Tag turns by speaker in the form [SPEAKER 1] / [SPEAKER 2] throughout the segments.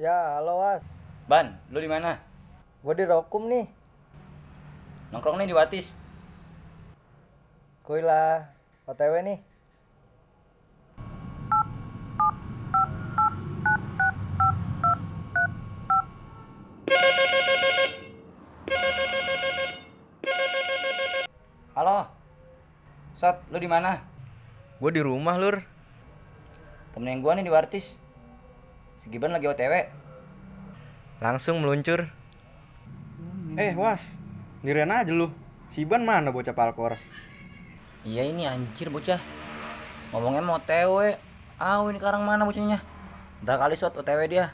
[SPEAKER 1] Ya,
[SPEAKER 2] Ban, lu di mana?
[SPEAKER 1] Gue di Rokum nih.
[SPEAKER 2] Nongkrong nih di Watis.
[SPEAKER 1] Kuy lah. OTW nih.
[SPEAKER 2] Halo. Sat, lu di mana?
[SPEAKER 3] Gue di rumah, Lur.
[SPEAKER 2] Temenin gua nih di Watis. Si Gibran lagi OTW.
[SPEAKER 3] Langsung meluncur.
[SPEAKER 4] Eh, Was. Ngirian aja lu. Si Iban mana bocah palkor?
[SPEAKER 2] Iya ini anjir bocah. Ngomongnya mau OTW. Ah, ini karang mana bocahnya? Ntar kali Sat OTW dia.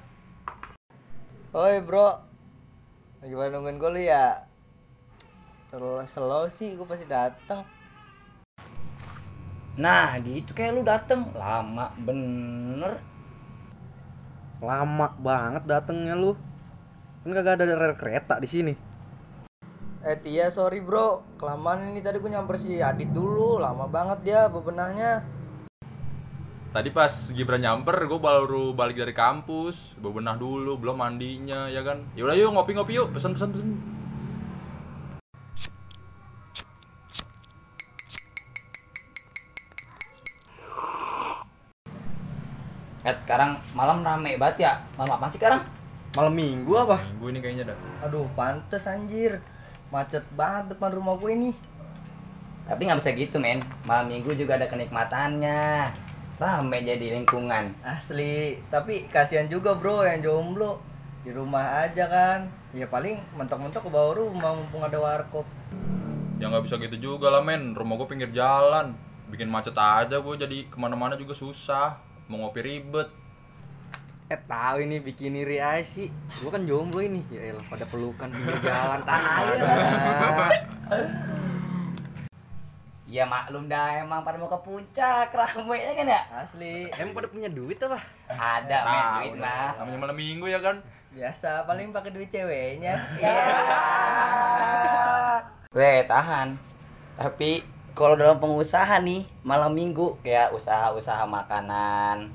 [SPEAKER 1] Oi bro. Gimana nungguin gue lu ya? Terlalu slow sih, gue pasti datang.
[SPEAKER 2] Nah, gitu kayak lu dateng lama bener.
[SPEAKER 4] Lama banget datengnya lu. Kan kagak ada rel kereta di sini.
[SPEAKER 1] Eh Tia, sorry bro. Kelamaan ini tadi gue nyamper si Adit dulu. Lama banget dia bebenahnya.
[SPEAKER 5] Tadi pas Gibran nyamper, gue baru balik dari kampus, bebenah dulu, belum mandinya, ya kan? Yaudah yuk ngopi-ngopi yuk, pesan pesan pesan.
[SPEAKER 2] Eh, sekarang malam rame banget ya. Malam apa sih sekarang?
[SPEAKER 4] Malam Minggu apa?
[SPEAKER 5] Minggu ini kayaknya dah.
[SPEAKER 1] Aduh, pantes anjir. Macet banget depan rumah gue ini.
[SPEAKER 2] Tapi nggak bisa gitu men. Malam minggu juga ada kenikmatannya. Rame jadi lingkungan.
[SPEAKER 1] Asli, tapi kasihan juga bro yang jomblo di rumah aja kan. Ya paling mentok-mentok ke bawah rumah mumpung ada warkop.
[SPEAKER 5] Ya nggak bisa gitu juga lah men, rumah gue pinggir jalan, bikin macet aja gue jadi kemana-mana juga susah, mau ngopi ribet.
[SPEAKER 4] Eh tahu ini bikin iri aja sih. Gue kan jomblo ini. Ya elah pada pelukan pinggir jalan tanah.
[SPEAKER 2] Ya maklum dah emang pada mau ke puncak rame ya kan ya.
[SPEAKER 1] Asli,
[SPEAKER 4] Emang pada punya duit apa?
[SPEAKER 2] Ada men
[SPEAKER 5] Tahu
[SPEAKER 2] duit
[SPEAKER 5] dah,
[SPEAKER 2] mah.
[SPEAKER 5] Namanya malam minggu ya kan?
[SPEAKER 1] biasa paling pakai duit ceweknya.
[SPEAKER 2] Weh tahan. Tapi kalau dalam pengusaha nih malam minggu kayak usaha-usaha makanan,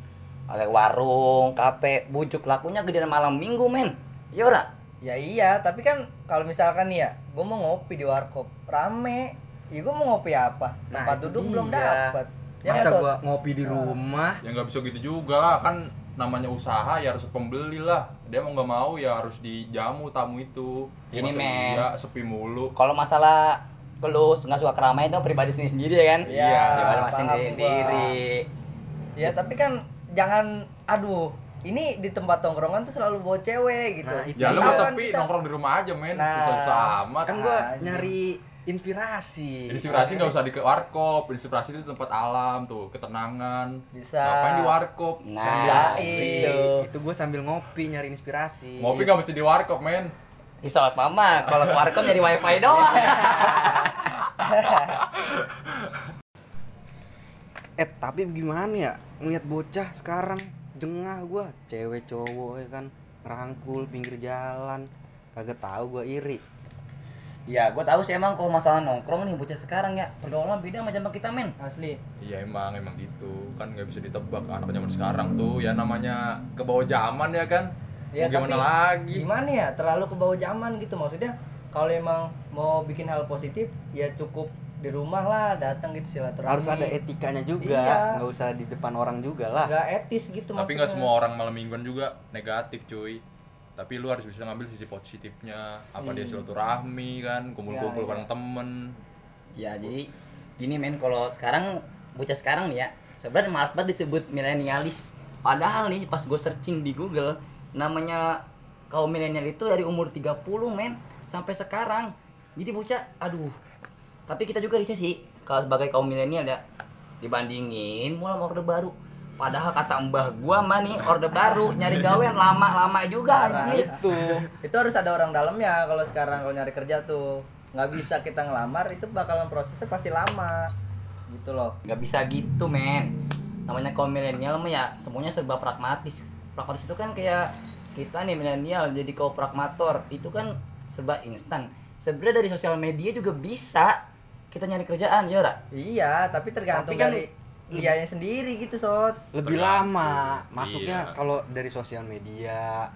[SPEAKER 2] oleh warung, kafe, bujuk lakunya gedean malam minggu men. Iya ora?
[SPEAKER 1] ya iya, tapi kan kalau misalkan nih ya, gue mau ngopi di warkop rame. Ya gue mau ngopi apa?
[SPEAKER 4] Nah,
[SPEAKER 1] Tempat
[SPEAKER 4] itu
[SPEAKER 1] duduk
[SPEAKER 4] dia.
[SPEAKER 1] belum Ya dapat.
[SPEAKER 4] Masa gua
[SPEAKER 1] Nah,
[SPEAKER 4] ngopi di rumah?
[SPEAKER 5] Ya nggak bisa gitu juga lah, kan namanya usaha ya harus pembeli lah. Dia mau nggak mau ya harus dijamu tamu itu.
[SPEAKER 2] Ini,
[SPEAKER 5] Masa
[SPEAKER 2] men.
[SPEAKER 5] iya, sepi mulu.
[SPEAKER 2] Kalau masalah lu nggak suka keramaian itu pribadi sendiri-sendiri ya kan?
[SPEAKER 1] Iya,
[SPEAKER 2] Pribadi
[SPEAKER 1] paham
[SPEAKER 2] masing-masing
[SPEAKER 1] gua.
[SPEAKER 2] sendiri.
[SPEAKER 1] Ya tapi kan jangan aduh, ini di tempat tongkrongan tuh selalu bawa cewek gitu.
[SPEAKER 4] Nah, itu.
[SPEAKER 5] Ya lu
[SPEAKER 1] Tahu
[SPEAKER 5] mah
[SPEAKER 1] kan
[SPEAKER 5] sepi
[SPEAKER 1] kita-
[SPEAKER 5] nongkrong di rumah aja men,
[SPEAKER 1] Nah,
[SPEAKER 5] susah-susah amat.
[SPEAKER 4] Kan gua
[SPEAKER 1] Anjing.
[SPEAKER 4] nyari inspirasi.
[SPEAKER 5] Inspirasi nggak usah di ke warkop, inspirasi itu tempat alam tuh, ketenangan.
[SPEAKER 1] Bisa. Ya, iya.
[SPEAKER 5] Ngapain di warkop? Iya.
[SPEAKER 2] Nah.
[SPEAKER 1] Sambil
[SPEAKER 4] Itu,
[SPEAKER 1] itu.
[SPEAKER 4] Gitu. itu gue sambil ngopi nyari inspirasi.
[SPEAKER 1] Iya.
[SPEAKER 5] Ngopi nggak mesti di warkop men.
[SPEAKER 2] Isol mama, kalau keluar kom jadi wifi doang.
[SPEAKER 4] Eh tapi gimana ya ngeliat bocah sekarang jengah gua cewek cowok ya kan rangkul pinggir jalan kagak tahu gua iri
[SPEAKER 2] ya, gue tahu sih emang kalau masalah nongkrong nih bocah sekarang ya pergaulan beda sama zaman kita men.
[SPEAKER 1] Asli.
[SPEAKER 5] Iya emang emang gitu, kan nggak bisa ditebak anak zaman sekarang tuh, ya namanya ke bawah zaman ya kan.
[SPEAKER 1] Ya,
[SPEAKER 5] Mau gimana
[SPEAKER 1] tapi
[SPEAKER 5] lagi?
[SPEAKER 1] Gimana ya? Terlalu ke bawah zaman gitu maksudnya. Kalau emang mau bikin hal positif ya cukup di rumah lah, datang gitu silaturahmi.
[SPEAKER 4] harus ada etikanya juga
[SPEAKER 1] Iya.
[SPEAKER 4] nggak usah di depan orang juga lah
[SPEAKER 1] Nggak etis gitu
[SPEAKER 5] Tapi nggak semua orang malam mingguan juga negatif cuy. Tapi lu harus bisa ngambil sisi positifnya.
[SPEAKER 1] Iya.
[SPEAKER 5] Apa dia silaturahmi kan, kumpul-kumpul bareng temen.
[SPEAKER 2] Ya, jadi gini men, kalau sekarang bocah sekarang nih ya, sebenarnya malas banget disebut milenialis. Padahal nih pas gue searching di Google, namanya kaum milenial itu dari umur 30 men sampai sekarang. Jadi bocah, aduh. Tapi kita juga riset sih kalau sebagai kaum milenial ya dibandingin mulai orde baru. Padahal kata mbah gua mah nih orde baru nyari gawean lama-lama juga anjir.
[SPEAKER 1] tuh. itu harus ada orang dalamnya kalau sekarang kalau nyari kerja tuh. Nggak bisa kita ngelamar itu bakalan prosesnya pasti lama. Gitu loh.
[SPEAKER 2] nggak bisa gitu men namanya kaum milenial mah ya semuanya serba pragmatis pragmatis itu kan kayak kita nih milenial jadi kaum pragmator itu kan serba instan sebenarnya dari sosial media juga bisa kita nyari kerjaan ya ora
[SPEAKER 1] Iya, tapi tergantung
[SPEAKER 4] Tapi kan-
[SPEAKER 1] dari dianya sendiri gitu, Sot.
[SPEAKER 4] lebih
[SPEAKER 5] Tergantung.
[SPEAKER 4] lama masuknya
[SPEAKER 5] Iya.
[SPEAKER 4] kalau dari sosial media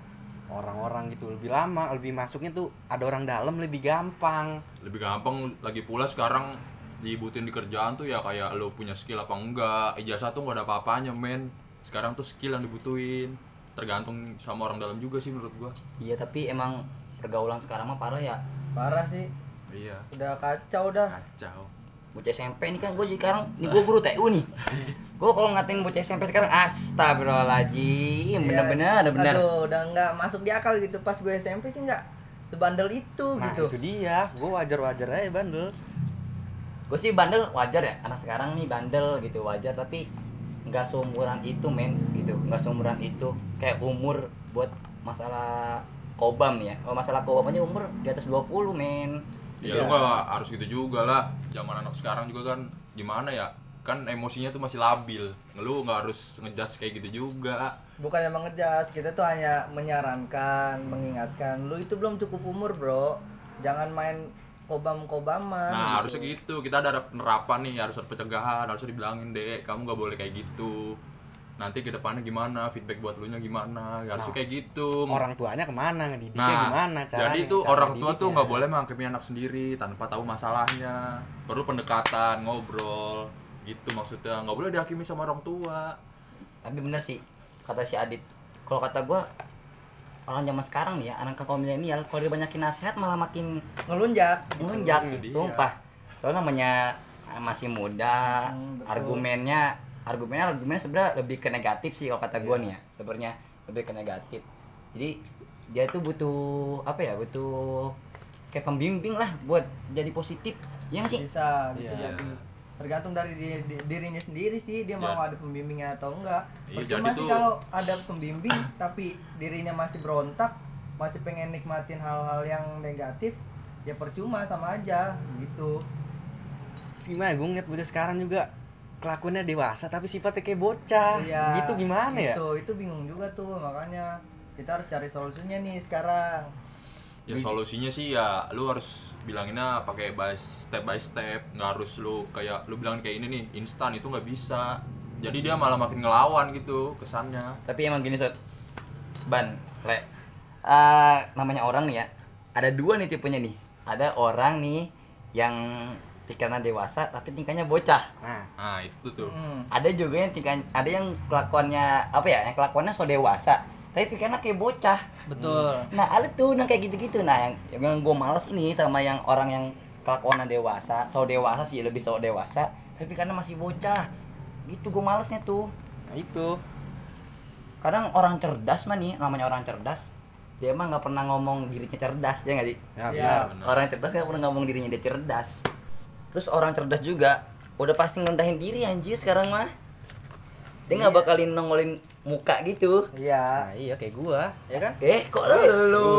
[SPEAKER 4] orang-orang gitu lebih lama lebih masuknya tuh ada orang dalam lebih gampang
[SPEAKER 5] lebih gampang lagi pula sekarang diibutin di kerjaan tuh ya kayak lo punya skill apa enggak ijazah tuh nggak ada apa-apanya men sekarang tuh skill yang dibutuhin tergantung sama orang dalam juga sih menurut gua
[SPEAKER 2] Iya tapi emang pergaulan sekarang mah parah ya.
[SPEAKER 1] Parah sih,
[SPEAKER 5] iya
[SPEAKER 1] udah kacau dah.
[SPEAKER 5] kacau
[SPEAKER 2] Bocah SMP ini kan gue jadi sekarang nih gue guru TU nih. gue kalau ngatain bocah SMP sekarang astagfirullahaladzim bener-bener ada bener.
[SPEAKER 1] Aduh, udah nggak masuk di akal gitu pas gue SMP sih nggak sebandel itu
[SPEAKER 4] nah
[SPEAKER 1] gitu.
[SPEAKER 4] itu dia gue wajar-wajar aja bandel
[SPEAKER 2] Gue sih bandel wajar ya anak sekarang nih bandel gitu wajar tapi nggak seumuran itu men gitu nggak seumuran itu kayak umur buat masalah kobam ya kalau masalah kobam aja umur di atas 20 men
[SPEAKER 5] ya lu nggak harus gitu juga lah zaman anak sekarang juga kan gimana ya kan emosinya tuh masih labil lu nggak harus ngejudge kayak gitu juga
[SPEAKER 1] Bukan emang ngejat, kita tuh hanya menyarankan, mengingatkan. Lu itu belum cukup umur bro, jangan main kobam-kobaman.
[SPEAKER 5] Nah harusnya gitu, kita ada penerapan nih, harus ada pencegahan, harusnya dibilangin dek, kamu nggak boleh kayak gitu. Nanti ke depannya gimana, feedback buat lu nya gimana, ya harusnya kayak gitu.
[SPEAKER 4] Nah. orang tuanya kemana ngedidiknya
[SPEAKER 5] nah,
[SPEAKER 4] gimana caranya
[SPEAKER 5] jadi tuh
[SPEAKER 4] cara
[SPEAKER 5] orang tua tuh
[SPEAKER 4] didiknya. ya.
[SPEAKER 5] nggak boleh menghakimi anak sendiri tanpa tahu masalahnya. Perlu pendekatan, ngobrol, gitu maksudnya. Nggak boleh dihakimi sama orang tua.
[SPEAKER 2] tapi bener sih kata si Adit kalau kata gua orang zaman sekarang nih ya anak kaum milenial kalau dibanyakin nasihat malah makin
[SPEAKER 1] Ngelunjak.
[SPEAKER 2] melunjak
[SPEAKER 1] Iya.
[SPEAKER 5] dia.
[SPEAKER 2] sumpah soalnya namanya eh, masih muda
[SPEAKER 1] Hmm, betul.
[SPEAKER 2] argumennya argumennya argumennya sebenarnya lebih ke negatif sih kalau kata
[SPEAKER 1] Iya.
[SPEAKER 2] gua nih ya sebenarnya lebih ke negatif jadi dia tuh butuh apa ya butuh kayak pembimbing lah buat jadi positif ya nggak sih
[SPEAKER 1] Bisa, bisa
[SPEAKER 5] Iya.
[SPEAKER 1] jadi. Tergantung dari di- di- dirinya sendiri sih, dia mau
[SPEAKER 5] Jadi-
[SPEAKER 1] ada pembimbingnya atau enggak.
[SPEAKER 5] Iya,
[SPEAKER 1] Percuma
[SPEAKER 5] jadi
[SPEAKER 1] sih
[SPEAKER 5] tuh-
[SPEAKER 1] kalau ada pembimbing, tapi dirinya masih berontak, masih pengen nikmatin hal-hal yang negatif, ya percuma sama aja gitu.
[SPEAKER 4] Terus gimana gue ngeliat bocah sekarang juga kelakuannya dewasa tapi sifatnya kayak bocah
[SPEAKER 1] Iya,
[SPEAKER 4] gitu gimana ya
[SPEAKER 1] Itu itu bingung juga tuh makanya kita harus cari solusinya nih sekarang.
[SPEAKER 5] Ya solusinya sih ya lu harus bilanginnya pakai by step by step, nggak harus lu kayak lu bilang kayak ini nih instan itu nggak bisa. Jadi dia malah makin ngelawan gitu kesannya.
[SPEAKER 2] tapi emang gini sot ban le Eh, namanya orang nih ya ada dua nih tipenya nih ada orang nih yang pikirannya dewasa tapi tingkahnya bocah
[SPEAKER 4] nah
[SPEAKER 5] Nah itu tuh.
[SPEAKER 1] Hmm.
[SPEAKER 2] ada juga yang tingkah ada yang kelakuannya apa ya yang kelakuannya so dewasa tapi pikirannya kayak bocah
[SPEAKER 1] Betul.
[SPEAKER 2] nah ada tuh yang kayak gitu-gitu nah yang yang gue males ini sama yang orang yang kelakuannya dewasa so dewasa sih lebih so dewasa tapi pikirannya masih bocah gitu gue malesnya tuh
[SPEAKER 4] nah itu
[SPEAKER 2] kadang orang cerdas mah nih namanya orang cerdas dia mah nggak pernah ngomong dirinya cerdas ya nggak sih
[SPEAKER 4] ya,
[SPEAKER 1] Iya.
[SPEAKER 4] benar.
[SPEAKER 5] Benar.
[SPEAKER 2] orang cerdas nggak pernah ngomong dirinya dia cerdas terus orang cerdas juga udah pasti ngerendahin diri anjir sekarang mah dia nggak bakalin nongolin muka gitu
[SPEAKER 1] Iya.
[SPEAKER 4] Iya. nah iya kayak gua ya kan
[SPEAKER 2] eh kok
[SPEAKER 4] Oh,
[SPEAKER 2] lu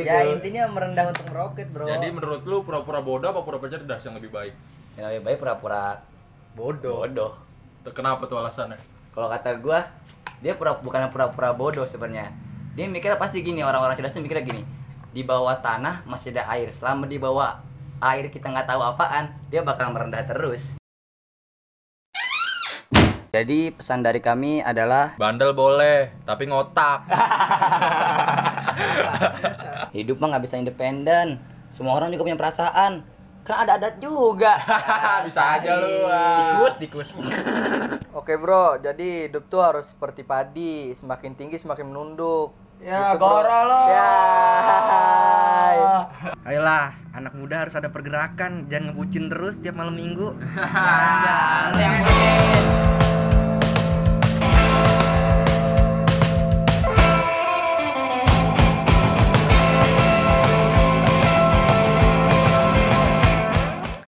[SPEAKER 2] gitu
[SPEAKER 1] Ya intinya merendah untuk meroket, Bro.
[SPEAKER 5] Jadi menurut lu pura-pura bodoh apa pura-pura cerdas yang lebih baik?
[SPEAKER 2] ya lebih baik pura-pura
[SPEAKER 4] bodoh
[SPEAKER 2] bodoh
[SPEAKER 5] Kenapa tuh alasannya?
[SPEAKER 2] kalau kata gua dia pura bukan pura-pura bodoh sebenarnya dia mikirnya pasti gini orang-orang cerdas tuh mikirnya gini di bawah tanah masih ada air selama di bawah air kita nggak tahu apaan dia bakal merendah terus jadi pesan dari kami adalah
[SPEAKER 5] Bandel boleh, tapi ngotak.
[SPEAKER 2] Hidup mah nggak bisa independen. Semua orang juga punya perasaan. Karena ada adat juga.
[SPEAKER 5] Bisa aja lu. ah.
[SPEAKER 2] Tikus, tikus.
[SPEAKER 1] Oke, Bro. Jadi hidup tuh harus seperti padi, semakin tinggi semakin menunduk.
[SPEAKER 2] Ya,
[SPEAKER 1] Gitu, Bro.
[SPEAKER 2] gora lo.
[SPEAKER 1] Ya.
[SPEAKER 4] ayolah anak muda harus ada pergerakan jangan ngebucin terus tiap malam minggu
[SPEAKER 2] Yang penting.